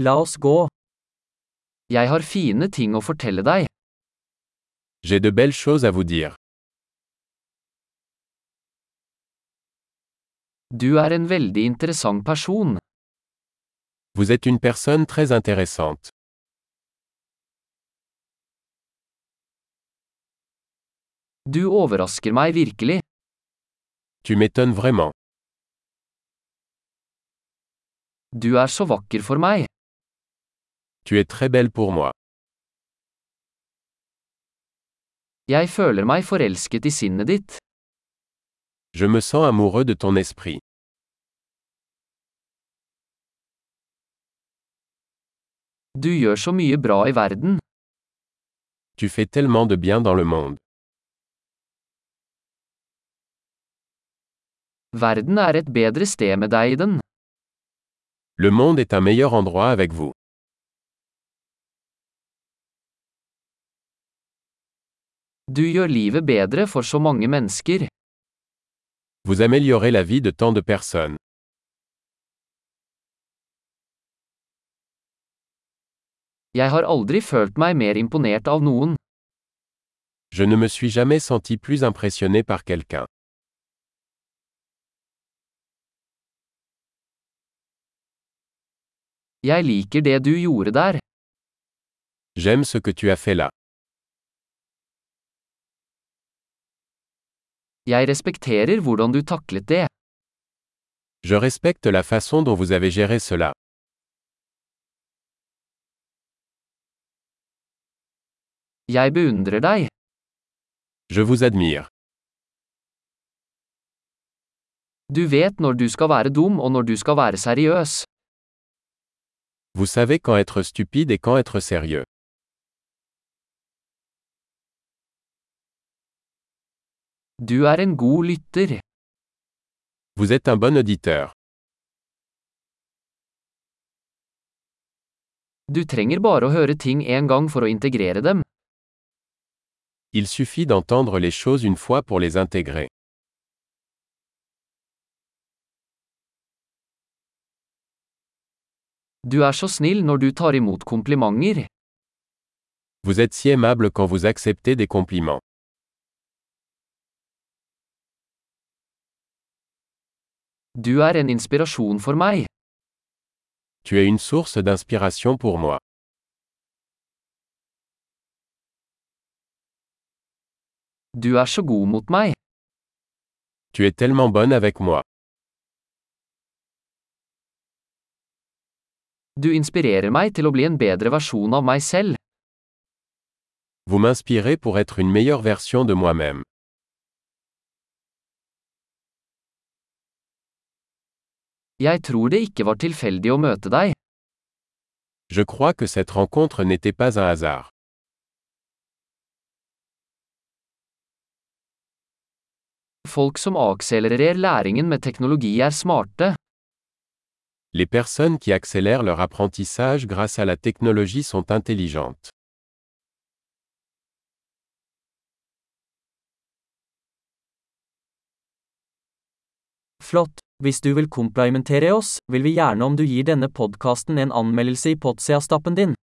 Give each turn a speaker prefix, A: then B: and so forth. A: La oss gå. Jeg har fine ting å fortelle deg.
B: J'ai de belles choses à vous dire.
A: Du er en veldig interessant person.
B: Vous êtes une personne très intéressante.
A: Du overrasker meg virkelig.
B: Tu m'étonnes vraiment.
A: Du er så vakker for meg.
B: Tu es très belle pour moi.
A: Jeg føler meg forelsket i sinnet ditt.
B: Je me sens amoureux de ton esprit.
A: Du gjør så mye bra i verden.
B: Tu fais tellement de bien dans le monde.
A: Verden er et bedre sted med deg i den.
B: Le monde est un meilleur endroit avec vous.
A: Du gjør livet bedre for så mange mennesker.
B: Vous améliorez la vie de tant de personnes.
A: Jeg har aldri følt meg mer imponert av noen.
B: Je ne me suis jamais senti plus impressionné par quelqu'un.
A: Jeg liker det du gjorde der.
B: J'aime ce que tu as fait là.
A: Jeg respekterer hvordan du taklet det.
B: Je respecte la façon dont vous avez géré cela.
A: Jeg beundrer deg.
B: Je vous admire.
A: Du vet når du skal være dum og når du skal være seriøs.
B: Vous savez quand être stupide et quand être sérieux.
A: Du er en god lytter.
B: Vous êtes un bon auditeur.
A: Du trenger bare å høre ting en gang for å integrere dem.
B: Il suffit d'entendre les choses une fois pour les intégrer.
A: Du er så snill når du tar imot komplimenter.
B: Vous êtes si aimable quand vous acceptez des compliments.
A: Du er en inspirasjon for meg.
B: Tu es une source d'inspiration pour moi.
A: Du er så god mot meg.
B: Tu es tellement bonne avec moi.
A: Du inspirerer meg til å bli en bedre versjon av meg selv.
B: Vous m'inspirez pour être une meilleure version de moi-même.
A: Jeg tror det ikke var tilfeldig å møte deg.
B: Je crois que cette rencontre n'était pas un hasard.
A: Folk som akselererer læringen med teknologi er smarte.
B: Les personnes qui accélèrent leur apprentissage grâce à la technologie sont intelligentes.
A: Flott! Hvis du vil komplimentere oss, vil vi gjerne om du gir denne podkasten en anmeldelse i Potsia-stappen din.